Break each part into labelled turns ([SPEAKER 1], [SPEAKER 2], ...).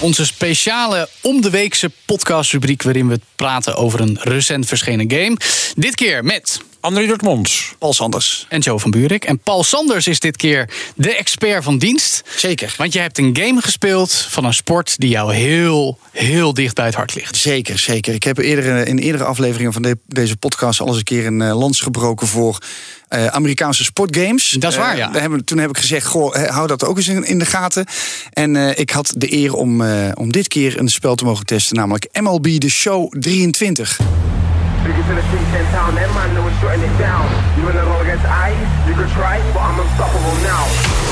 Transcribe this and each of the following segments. [SPEAKER 1] Onze speciale om de weekse podcastrubriek waarin we praten over een recent verschenen game. Dit keer met
[SPEAKER 2] André Dortmonds.
[SPEAKER 1] Paul Sanders en Joe van Buurik. En Paul Sanders is dit keer de expert van dienst.
[SPEAKER 2] Zeker.
[SPEAKER 1] Want je hebt een game gespeeld van een sport die jou heel, heel dicht bij het hart ligt.
[SPEAKER 2] Zeker, zeker. Ik heb eerder, eh, in eerdere afleveringen van de- deze podcast al eens een keer een eh, lans gebroken voor eh, Amerikaanse sportgames.
[SPEAKER 1] Dat is waar,
[SPEAKER 2] Eh,
[SPEAKER 1] ja.
[SPEAKER 2] we hebben, toen heb ik gezegd, goh, eh, hou dat ook eens in, in de gaten. En eh, ik had de eer om, eh, om dit keer een spel te mogen testen, namelijk MLB The Show 23.
[SPEAKER 3] Biggest in the city, 10 town, that mind no shutting it down. You in the roll against I, you can try, but I'm unstoppable now.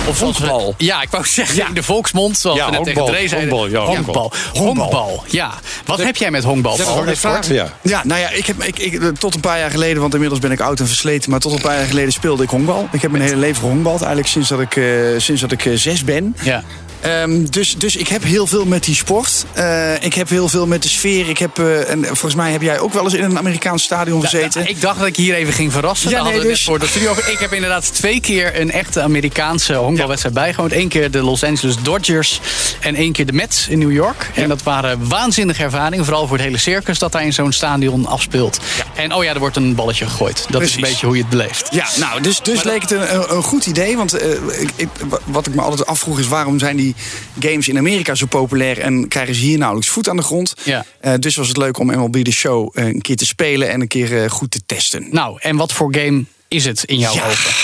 [SPEAKER 1] Of
[SPEAKER 4] honkbal.
[SPEAKER 1] Ja, ik wou zeggen in de volksmond. Zoals
[SPEAKER 4] Ja,
[SPEAKER 1] we net
[SPEAKER 4] honkbal,
[SPEAKER 1] tegen Dre zeiden.
[SPEAKER 4] honkbal, ja,
[SPEAKER 1] honkbal. Honkbal, ja. Wat heb jij met honkbal,
[SPEAKER 4] Oh, Dat
[SPEAKER 1] Paul?
[SPEAKER 4] is een vraag. Ja.
[SPEAKER 2] Ja, nou ja, ik heb, ik, ik, eh, tot een paar jaar geleden, want inmiddels ben ik oud en versleten, maar tot een paar jaar geleden speelde ik honkbal. Ik heb mijn hele leven honkbald, eigenlijk sinds dat ik, eh, sinds dat ik eh, zes ben.
[SPEAKER 1] Ja.
[SPEAKER 2] Ehm, dus, dus ik heb heel veel met die sport. Eh, ik heb heel veel met de sfeer. Ik heb, eh, en volgens mij heb jij ook wel eens in een Amerikaans stadion
[SPEAKER 1] Ja,
[SPEAKER 2] gezeten.
[SPEAKER 1] ja, ik dacht dat ik hier even ging verrassen.
[SPEAKER 2] Ja,
[SPEAKER 1] Daar
[SPEAKER 2] nee,
[SPEAKER 1] hadden we het net
[SPEAKER 2] dus-
[SPEAKER 1] voor de studio over. Ik heb inderdaad twee keer een echte Amerikaanse honkbalwedstrijd bijgewoond. Eén keer de Los Angeles Dodgers en één keer de Mets in New York. En dat waren waanzinnige ervaringen. Vooral voor het hele circus dat daar in zo'n stadion afspeelt. En oh ja, er wordt een balletje gegooid. Dat is een
[SPEAKER 2] Precies.
[SPEAKER 1] beetje hoe je het beleeft.
[SPEAKER 2] Ja, nou, dus, dus leek het een, een- een goed idee. Want eh, ik, ik- wa- wat ik me altijd afvroeg is... waarom zijn die games in Amerika zo populair... en krijgen ze hier nauwelijks voet aan de grond?
[SPEAKER 1] Ja.
[SPEAKER 2] Eh, dus was het leuk om MLB de Show eh, een keer te spelen... en een keer eh, goed te testen.
[SPEAKER 1] Nou, en wat voor game is het in jouw ogen?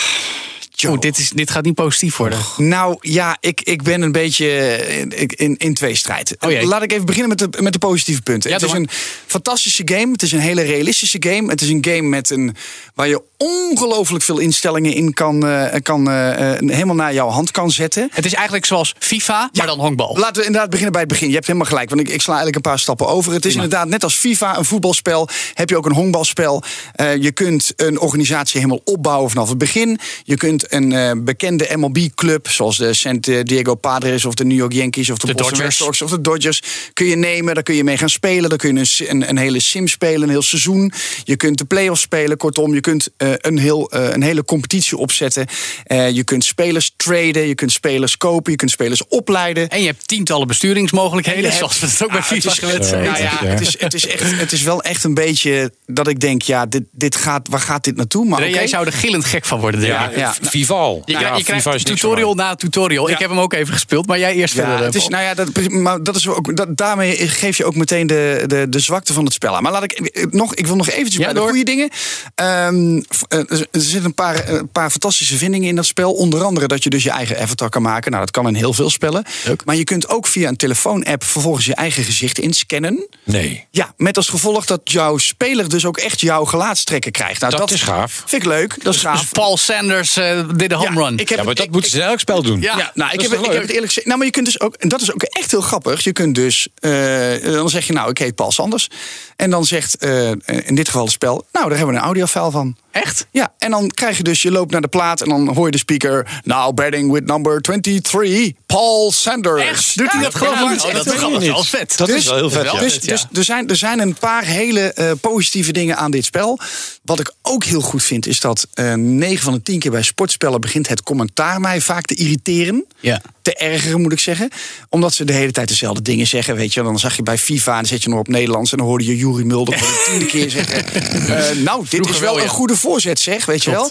[SPEAKER 1] Oeh, dit, is, dit gaat niet positief worden.
[SPEAKER 2] Nou ja, ik, ik ben een beetje eh, in, in, in twee strijd.
[SPEAKER 1] Oh jee.
[SPEAKER 2] Laat ik even beginnen met de, met de positieve punten.
[SPEAKER 1] Ja,
[SPEAKER 2] het is
[SPEAKER 1] doe
[SPEAKER 2] een fantastische game. Het is een hele realistische game. Het is een game met een, waar je ongelooflijk veel instellingen in kan, eh, kan eh, eh, helemaal naar jouw hand kan zetten.
[SPEAKER 1] Het is eigenlijk zoals FIFA, maar dan honkbal.
[SPEAKER 2] Laten we inderdaad beginnen bij het begin. Je hebt helemaal gelijk, want ik, ik sla eigenlijk een paar stappen over. Het is inderdaad net als FIFA, een voetbalspel. Heb je ook een honkbalspel. Eh, je kunt een organisatie helemaal opbouwen vanaf het begin. Je kunt een eh, bekende MLB-club, zoals de San Diego Padres... of de New York Yankees of de,
[SPEAKER 1] De
[SPEAKER 2] Boston
[SPEAKER 1] Dodgers.
[SPEAKER 2] Red Sox of de Dodgers... kun je nemen, daar kun je mee gaan spelen. Daar kun je een, s- een, een hele sim spelen, een heel seizoen. Je kunt de playoffs spelen, kortom. Je kunt eh, een, heel, eh, een hele competitie opzetten. Eh, je kunt spelers traden, je kunt spelers kopen... je kunt spelers opleiden.
[SPEAKER 1] En je hebt tientallen besturingsmogelijkheden, zoals we het ook bij
[SPEAKER 2] Ah,
[SPEAKER 1] FIFA
[SPEAKER 2] het is-
[SPEAKER 1] gewend
[SPEAKER 2] Nou
[SPEAKER 1] zijn.
[SPEAKER 2] ja, het, is, het, is echt, het is wel echt een beetje dat ik denk, ja, dit, dit gaat, waar gaat dit naartoe? Maar
[SPEAKER 1] Dre,
[SPEAKER 2] oké.
[SPEAKER 1] Jij zou er gillend gek van worden, denk ik.
[SPEAKER 2] ja.
[SPEAKER 4] Vival.
[SPEAKER 1] Je, krijgt- je krijgt
[SPEAKER 4] Vival is niks
[SPEAKER 1] nou, tutorial na tutorial. Ik heb hem ook even gespeeld, maar jij eerst
[SPEAKER 2] Ja,
[SPEAKER 1] verder.
[SPEAKER 2] het is,
[SPEAKER 1] Paul.
[SPEAKER 2] nou ja, dat, maar dat is ook, dat, daarmee geef je ook meteen de, de, de zwakte van het spel aan. Maar laat ik, eh, nog, ik wil nog eventjes
[SPEAKER 1] Ja,
[SPEAKER 2] bij
[SPEAKER 1] door.
[SPEAKER 2] de goede dingen. Ehm, f- eh, er zitten een paar, eh, een paar fantastische vindingen in dat spel. Onder andere dat je dus je eigen avatar kan maken. Nou, dat kan in heel veel spellen. Maar je kunt ook via een telefoon-app vervolgens je eigen gezicht inscannen.
[SPEAKER 4] Nee.
[SPEAKER 2] Ja, met als gevolg dat jouw speler dus ook echt jouw gelaatstrekken krijgt. Nou,
[SPEAKER 4] Dat is gaaf.
[SPEAKER 2] Vind ik leuk. Dat is gaaf.
[SPEAKER 1] Dus Paul Sanders eh, did a home
[SPEAKER 2] nou- Ja,
[SPEAKER 1] run.
[SPEAKER 2] ik heb
[SPEAKER 4] Ja, maar
[SPEAKER 2] het-
[SPEAKER 4] dat
[SPEAKER 2] ik-
[SPEAKER 4] moeten ze in elk spel doen.
[SPEAKER 1] Ja.
[SPEAKER 2] ja, nou,
[SPEAKER 4] dat
[SPEAKER 2] ik
[SPEAKER 4] is
[SPEAKER 2] heb, het-
[SPEAKER 4] toch
[SPEAKER 2] ik heb
[SPEAKER 4] leuk?
[SPEAKER 2] het eerlijk gezegd. Nou, maar je kunt dus ook, en dat is ook echt heel grappig. Je kunt dus, eh, dan zeg je, nou, ik heet Paul Sanders. En dan zegt eh, in dit geval het spel, nou, daar hebben we een audiofile van.
[SPEAKER 1] Echt?
[SPEAKER 2] Ja, en dan krijg je dus, je loopt naar de plaat en dan hoor je de speaker. Now batting with number 23, Paul Sanders.
[SPEAKER 1] Echt? Doet hij
[SPEAKER 2] Ja,
[SPEAKER 1] dat gewoon?
[SPEAKER 2] ja,
[SPEAKER 1] Oh,
[SPEAKER 2] dat is
[SPEAKER 1] dat
[SPEAKER 2] echt
[SPEAKER 1] is
[SPEAKER 2] heel
[SPEAKER 1] grappig.
[SPEAKER 2] leuk.
[SPEAKER 1] Dat is vet.
[SPEAKER 4] Dat is wel heel vet, ja.
[SPEAKER 2] Dus,
[SPEAKER 1] ja.
[SPEAKER 2] dus er, zijn, er zijn een paar hele eh, positieve dingen aan dit spel. Wat ik ook heel goed vind, is dat eh 9 van de 10 keer bij sportspellen begint het commentaar mij vaak te irriteren.
[SPEAKER 1] Ja.
[SPEAKER 2] Te ergeren, moet ik zeggen. Omdat ze de hele tijd dezelfde dingen zeggen. Weet je, dan zag je bij FIFA, en dan zet je nog op Nederlands. En dan hoorde je Jurie Mulder voor de tiende keer zeggen. eh, nou, dit
[SPEAKER 1] Vroeger
[SPEAKER 2] is wel
[SPEAKER 1] wel, ja.
[SPEAKER 2] een goede voorzet, zeg. Weet je wel.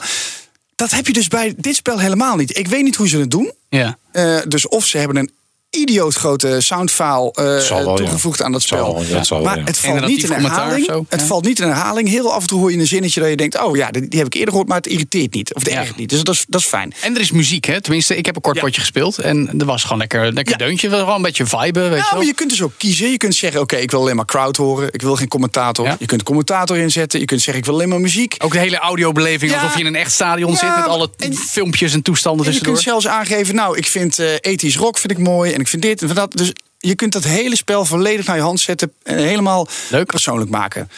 [SPEAKER 2] Dat heb je dus bij dit spel helemaal niet. Ik weet niet hoe ze het doen.
[SPEAKER 1] Ja.
[SPEAKER 2] Eh, dus of ze hebben een idioot grote soundfile eh,
[SPEAKER 4] Zal wel, ja.
[SPEAKER 2] toegevoegd aan dat
[SPEAKER 4] Zal
[SPEAKER 2] spel.
[SPEAKER 4] wel, ja, dat zal wel,
[SPEAKER 2] maar
[SPEAKER 4] ja.
[SPEAKER 2] het valt
[SPEAKER 1] Inderdaad,
[SPEAKER 2] niet
[SPEAKER 1] die
[SPEAKER 2] in
[SPEAKER 1] commentaar of
[SPEAKER 2] herhaling.
[SPEAKER 1] zo,
[SPEAKER 2] het
[SPEAKER 1] ja.
[SPEAKER 2] valt niet in herhaling. Heel af en toe hoor je een zinnetje dat je denkt... oh ja, die, die heb ik eerder gehoord, maar het irriteert niet. Of het
[SPEAKER 1] Ja.
[SPEAKER 2] ergert niet. Dus dat is, dat is fijn.
[SPEAKER 1] En er is muziek, hè? Tenminste, ik heb een kort
[SPEAKER 2] Ja.
[SPEAKER 1] potje gespeeld. En er was gewoon lekker, lekker
[SPEAKER 2] Ja.
[SPEAKER 1] deuntje. Gewoon een beetje viben, weet
[SPEAKER 2] Nou, maar
[SPEAKER 1] je
[SPEAKER 2] je kunt dus ook kiezen. Je kunt zeggen, oké, ik wil alleen maar crowd horen. Ik wil geen commentator.
[SPEAKER 1] Ja.
[SPEAKER 2] Je kunt commentator inzetten. Je kunt zeggen, ik wil alleen maar muziek.
[SPEAKER 1] wel. Ook de hele audiobeleving,
[SPEAKER 2] Ja.
[SPEAKER 1] alsof je in een echt stadion
[SPEAKER 2] Ja,
[SPEAKER 1] zit... met
[SPEAKER 2] maar-
[SPEAKER 1] alle
[SPEAKER 2] en-
[SPEAKER 1] filmpjes en toestanden
[SPEAKER 2] En je
[SPEAKER 1] tussendoor.
[SPEAKER 2] kunt zelfs aangeven, nou, ik vind eh ethisch rock vind ik mooi. En ik vind dit en van dat. Dus je kunt dat hele spel volledig naar je hand zetten en helemaal
[SPEAKER 1] Leuk.
[SPEAKER 2] persoonlijk maken.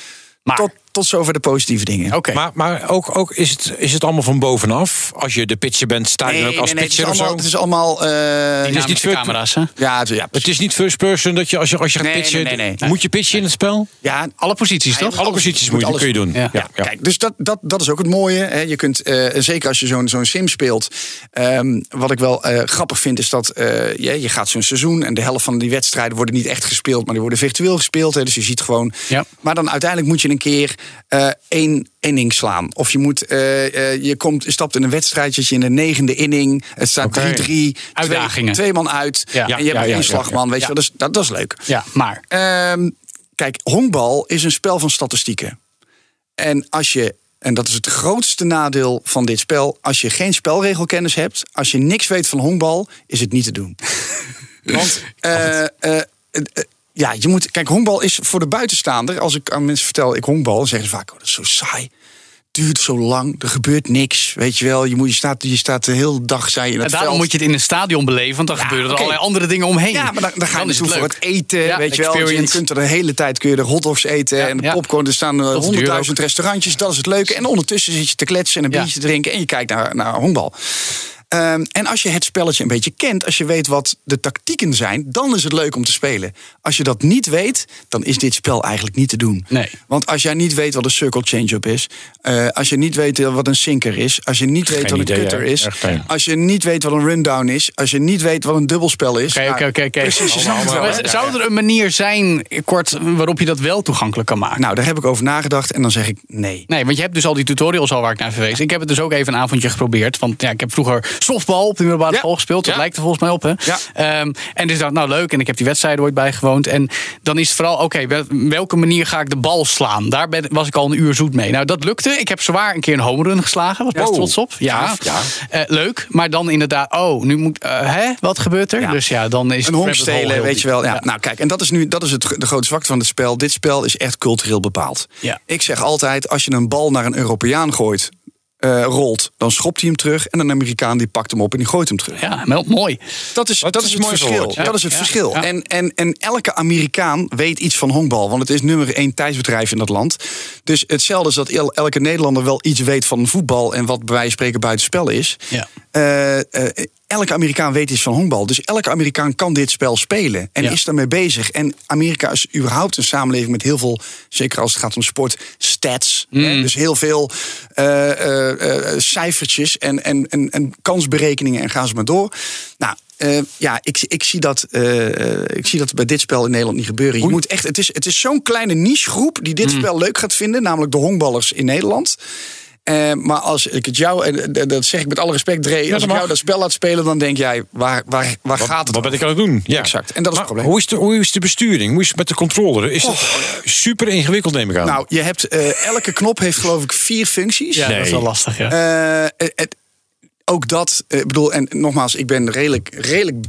[SPEAKER 1] Maar-
[SPEAKER 2] Tot, tot zover de positieve dingen.
[SPEAKER 1] Oké.
[SPEAKER 4] Maar, maar ook, ook is, het, is het allemaal van bovenaf? Als je de pitcher bent, sta je dan ook als
[SPEAKER 2] het is
[SPEAKER 4] pitcher of
[SPEAKER 2] allemaal.
[SPEAKER 4] zo?
[SPEAKER 2] Het is allemaal eh,
[SPEAKER 4] is niet
[SPEAKER 1] Dynamische
[SPEAKER 4] veel-
[SPEAKER 1] camera's, hè?
[SPEAKER 2] ja, het- ja,
[SPEAKER 4] Het is niet first person dat je als je, als je gaat
[SPEAKER 2] Nee,
[SPEAKER 4] pitchen...
[SPEAKER 2] nee, nee,
[SPEAKER 4] Moet je pitchen in het spel?
[SPEAKER 2] ja,
[SPEAKER 1] Alle posities, toch?
[SPEAKER 4] Alle posities moet je, dat
[SPEAKER 2] alles
[SPEAKER 4] kun je doen.
[SPEAKER 1] Ja.
[SPEAKER 4] Ja, ja.
[SPEAKER 2] Kijk, dus dat, dat, dat is ook het mooie. Hè. Je kunt, eh, zeker als je zo'n zo'n sim speelt. ehm, wat ik wel eh, grappig vind, is dat eh, je, je gaat zo'n seizoen en de helft van die wedstrijden worden niet echt gespeeld, maar die worden virtueel gespeeld. Hè, dus je ziet gewoon.
[SPEAKER 1] Ja.
[SPEAKER 2] Maar dan uiteindelijk moet je een keer eh één inning slaan. Of je moet, eh, eh, je komt, je stapt in een wedstrijdje je in de negende inning. Het staat 3-3. twee-
[SPEAKER 1] Uitdagingen.
[SPEAKER 2] Twee man uit.
[SPEAKER 1] Ja.
[SPEAKER 2] En je
[SPEAKER 4] Ja,
[SPEAKER 2] hebt
[SPEAKER 4] ja,
[SPEAKER 2] één
[SPEAKER 4] ja,
[SPEAKER 2] slagman. Weet je wel, dus, dat, dat is leuk.
[SPEAKER 1] Ja, maar.
[SPEAKER 2] Ehm, kijk, honkbal is een spel van statistieken. En als je, en dat is het grootste nadeel van dit spel, als je geen spelregelkennis hebt, als je niks weet van honkbal, is het niet te doen. Want eh, eh, eh, eh, ja, je moet. Kijk, honkbal is voor de buitenstaander. Als ik aan mensen vertel ik honkbal, dan zeggen ze vaak: oh, dat is zo saai. Duurt zo lang, er gebeurt niks. Weet je wel, je, moet, je, staat, je staat de hele dag zij in het
[SPEAKER 1] En daarom
[SPEAKER 2] veld.
[SPEAKER 1] moet je het in een stadion beleven, want dan gebeuren er
[SPEAKER 2] oké.
[SPEAKER 1] allerlei andere dingen omheen.
[SPEAKER 2] Ja, maar dan, dan ga je dus
[SPEAKER 1] is
[SPEAKER 2] naartoe voor het
[SPEAKER 1] leuk.
[SPEAKER 2] eten,
[SPEAKER 1] Ja,
[SPEAKER 2] weet je wel. Dus Je
[SPEAKER 1] experience.
[SPEAKER 2] kunt er de hele tijd kun je de hotdogs eten en de
[SPEAKER 1] ja.
[SPEAKER 2] popcorn. Er staan eh,
[SPEAKER 1] duur
[SPEAKER 2] honderdduizend restaurantjes, dat is het leuke. En ondertussen zit je te kletsen en een
[SPEAKER 1] Ja.
[SPEAKER 2] biertje te drinken en je kijkt naar, naar honkbal. Ehm, en als je het spelletje een beetje kent, als je weet wat de tactieken zijn, dan is het leuk om te spelen. Als je dat niet weet, dan is dit spel eigenlijk niet te doen.
[SPEAKER 1] Nee.
[SPEAKER 2] Want als jij niet weet wat een circle change-up is, eh, als je niet weet eh, wat een sinker is, als je niet weet wat een
[SPEAKER 4] idee,
[SPEAKER 2] cutter
[SPEAKER 4] hè?
[SPEAKER 2] is,
[SPEAKER 4] Echt geen.
[SPEAKER 2] als je niet weet wat een rundown is, als je niet weet wat een dubbelspel is.
[SPEAKER 1] Oké,
[SPEAKER 2] nou,
[SPEAKER 1] oké, oké, oké.
[SPEAKER 2] Precies, je snapt het wel,
[SPEAKER 1] Maar
[SPEAKER 2] hè?
[SPEAKER 1] Zou er een manier zijn, kort, waarop je dat wel toegankelijk kan maken?
[SPEAKER 2] Nou, daar heb ik over nagedacht en dan zeg ik nee.
[SPEAKER 1] Nee, want je hebt dus al die tutorials al waar ik naar verwees. Ik heb het dus ook even een avondje geprobeerd. Want ja, ik heb vroeger softbal op de middelbare
[SPEAKER 2] Ja.
[SPEAKER 1] school gespeeld. Dat
[SPEAKER 4] Ja.
[SPEAKER 1] lijkt er volgens mij op, hè?
[SPEAKER 2] Ja.
[SPEAKER 1] Ehm, en dus dacht ik, nou leuk. En ik heb die wedstrijden ooit bijgewoond. En dan is het vooral, oké, wel- welke manier ga ik de bal slaan? Daar ben, was ik al een uur zoet mee. Nou, dat lukte. Ik heb zwaar een keer een homerun geslagen. Was best
[SPEAKER 4] Wow.
[SPEAKER 1] trots op. Ja.
[SPEAKER 2] Oh, Ja.
[SPEAKER 1] Eh, leuk. Maar dan inderdaad, oh, nu moet, eh, hè? Wat gebeurt er?
[SPEAKER 2] Ja.
[SPEAKER 1] Dus ja, dan is
[SPEAKER 2] Een
[SPEAKER 1] het
[SPEAKER 2] honk
[SPEAKER 1] rabbit hole
[SPEAKER 2] stelen,
[SPEAKER 1] heel
[SPEAKER 2] weet je
[SPEAKER 1] diep.
[SPEAKER 2] wel. Ja. Nou, kijk, en dat is nu dat is het, de grote zwakte van het spel. Dit spel is echt cultureel bepaald.
[SPEAKER 1] Ja.
[SPEAKER 2] Ik zeg altijd, als je een bal naar een Europeaan gooit, eh, rolt, dan schopt hij hem terug. En een Amerikaan die pakt hem op en die gooit hem terug.
[SPEAKER 1] Ja, wel mooi.
[SPEAKER 2] Dat is, dat
[SPEAKER 4] is
[SPEAKER 2] is
[SPEAKER 4] een
[SPEAKER 2] het
[SPEAKER 4] mooi
[SPEAKER 2] verschil.
[SPEAKER 4] verwoord, ja.
[SPEAKER 2] Dat is het
[SPEAKER 1] Ja,
[SPEAKER 2] verschil.
[SPEAKER 1] ja.
[SPEAKER 2] En, en, en elke Amerikaan weet iets van honkbal. Want het is nummer één thuisbedrijf in dat land. Dus hetzelfde is dat el- elke Nederlander wel iets weet van voetbal. En wat bij wijze van spreken buitenspel is.
[SPEAKER 1] Ja.
[SPEAKER 2] Eh, eh, elke Amerikaan weet iets van honkbal. Dus elke Amerikaan kan dit spel spelen. En
[SPEAKER 1] Ja.
[SPEAKER 2] is daarmee bezig. En Amerika is überhaupt een samenleving met heel veel... zeker als het gaat om sport, stats. Hè? Dus heel veel eh, eh, eh, cijfertjes en, en, en, en kansberekeningen en ga ze maar door. Nou... eh, ja, ik, ik, zie dat, eh, eh, ik zie dat bij dit spel in Nederland niet gebeuren. Je moet echt, het is, het is zo'n kleine nichegroep die dit spel leuk gaat vinden, namelijk de honkballers in Nederland. Eh, maar als ik het jou, en eh, dat zeg ik met alle respect, Dre, als
[SPEAKER 4] dat
[SPEAKER 2] ik
[SPEAKER 4] mag.
[SPEAKER 2] jou dat spel laat spelen, dan denk jij, waar, waar, waar gaat het
[SPEAKER 4] Wat ben
[SPEAKER 2] over?
[SPEAKER 4] ik aan het doen? Ja.
[SPEAKER 2] Exact. En dat is het
[SPEAKER 4] Maar
[SPEAKER 2] probleem.
[SPEAKER 4] Hoe is, de, hoe is de besturing? Hoe is het met de controller? Is dat super ingewikkeld, neem ik aan?
[SPEAKER 2] Nou, je hebt, eh, elke knop heeft geloof ik vier functies.
[SPEAKER 1] Ja,
[SPEAKER 4] Nee.
[SPEAKER 1] dat is wel lastig, ja.
[SPEAKER 2] Eh, het- ook dat, eh, ik bedoel, en nogmaals, ik ben redelijk, redelijk,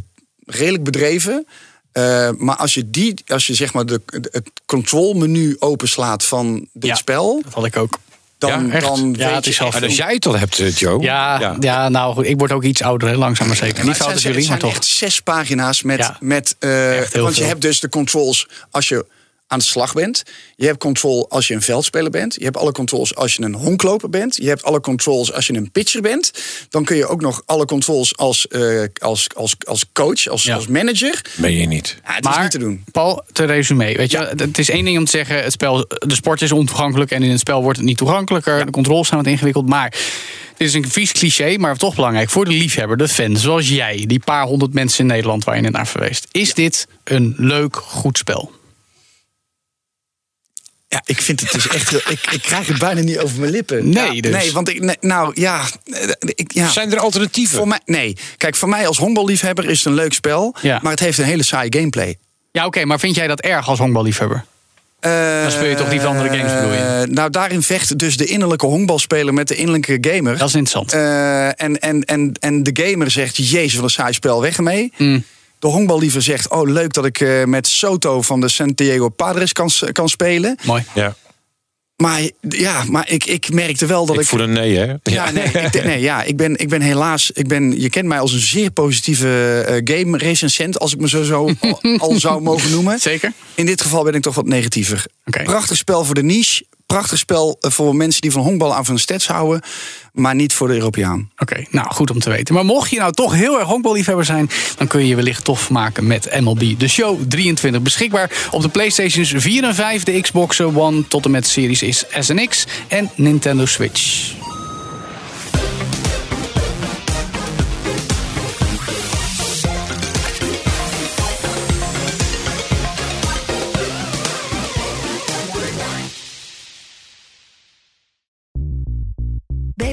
[SPEAKER 2] redelijk bedreven. Eh, maar als je, die, als je zeg maar de, het control menu openslaat van dit
[SPEAKER 1] Ja.
[SPEAKER 2] spel,
[SPEAKER 1] dat had ik ook.
[SPEAKER 2] dan,
[SPEAKER 4] Ja, echt?
[SPEAKER 2] dan
[SPEAKER 1] Ja,
[SPEAKER 2] weet
[SPEAKER 1] het is
[SPEAKER 2] je
[SPEAKER 1] wel
[SPEAKER 4] en als Ah, jij het al hebt, eh, Joe.
[SPEAKER 1] Ja, ja. nou goed, ik word ook iets ouder, hè, langzaam maar zeker. Niet zo
[SPEAKER 2] Maar
[SPEAKER 1] oud
[SPEAKER 2] het
[SPEAKER 1] als
[SPEAKER 2] zijn-
[SPEAKER 1] jullie, maar
[SPEAKER 2] het zijn
[SPEAKER 1] toch.
[SPEAKER 2] echt zes pagina's met.
[SPEAKER 1] Ja.
[SPEAKER 2] met eh,
[SPEAKER 1] Echt heel
[SPEAKER 2] want je
[SPEAKER 1] veel.
[SPEAKER 2] hebt dus de controls als je aan de slag bent. Je hebt control als je een veldspeler bent. Je hebt alle controls als je een honkloper bent. Je hebt alle controls als je een pitcher bent. Dan kun je ook nog alle controls als, eh, als, als, als coach, als,
[SPEAKER 1] Ja.
[SPEAKER 2] als manager.
[SPEAKER 4] Ben je niet.
[SPEAKER 2] Ja, het
[SPEAKER 1] maar,
[SPEAKER 2] is niet te doen.
[SPEAKER 1] Paul, te resume. Weet je, het- het is één ding om te zeggen: het spel, de sport is ontoegankelijk en in het spel wordt het niet toegankelijker. De controles zijn wat ingewikkeld. Maar dit is een vies cliché, maar toch belangrijk voor de liefhebber, de fan, zoals jij, die paar honderd mensen in Nederland waar je net naar verweest. Is dit een leuk, goed spel?
[SPEAKER 2] Ja, ik vind het dus echt. heel- ik, ik krijg het bijna niet over mijn lippen.
[SPEAKER 1] Nee,
[SPEAKER 2] Ja,
[SPEAKER 1] dus.
[SPEAKER 2] Nee, want ik. nee, nou ja. eh, Ik, ja.
[SPEAKER 4] Zijn er alternatieven?
[SPEAKER 2] Voor mij, nee, kijk, voor mij als honkballiefhebber is het een leuk spel.
[SPEAKER 1] Ja.
[SPEAKER 2] Maar het heeft een hele saaie gameplay.
[SPEAKER 1] Ja, oké, maar vind jij dat erg als honkballiefhebber?
[SPEAKER 2] Dan
[SPEAKER 1] speel je toch
[SPEAKER 2] Eh,
[SPEAKER 1] liever andere games, bedoel je?
[SPEAKER 2] nou, daarin vecht dus de innerlijke honkbalspeler met de innerlijke gamer.
[SPEAKER 1] Dat is interessant.
[SPEAKER 2] Eh, en, en, en, en de gamer zegt, jezus, wat een saai spel, weg ermee.
[SPEAKER 1] Mm.
[SPEAKER 2] De honkballiever zegt, oh leuk dat ik eh, met Soto van de San Diego Padres kan, s- kan spelen.
[SPEAKER 1] Mooi.
[SPEAKER 4] Ja.
[SPEAKER 2] Maar ja, maar ik, ik merkte wel dat
[SPEAKER 4] Ik
[SPEAKER 2] ik.
[SPEAKER 4] voel een nee, hè?
[SPEAKER 2] Ja, nee, ik, denk- nee, ja ik, ben, ik ben helaas. Ik ben, je kent mij als een zeer positieve eh, game recensent, als ik me zo, zo al, al zou mogen noemen.
[SPEAKER 1] Zeker.
[SPEAKER 2] In dit geval ben ik toch wat negatiever.
[SPEAKER 1] Oké.
[SPEAKER 2] Prachtig spel voor de niche. Prachtig spel eh, voor mensen die van honkbal aan van stats houden. Maar niet voor de Europeaan.
[SPEAKER 1] Oké, nou goed om te weten. Maar mocht je nou toch heel erg honkballiefhebber zijn, dan kun je je wellicht tof maken met MLB. De Show 23 beschikbaar op de PlayStations 4 en 5, de Xbox One tot en met Series is S en X en Nintendo Switch.
[SPEAKER 5] Bij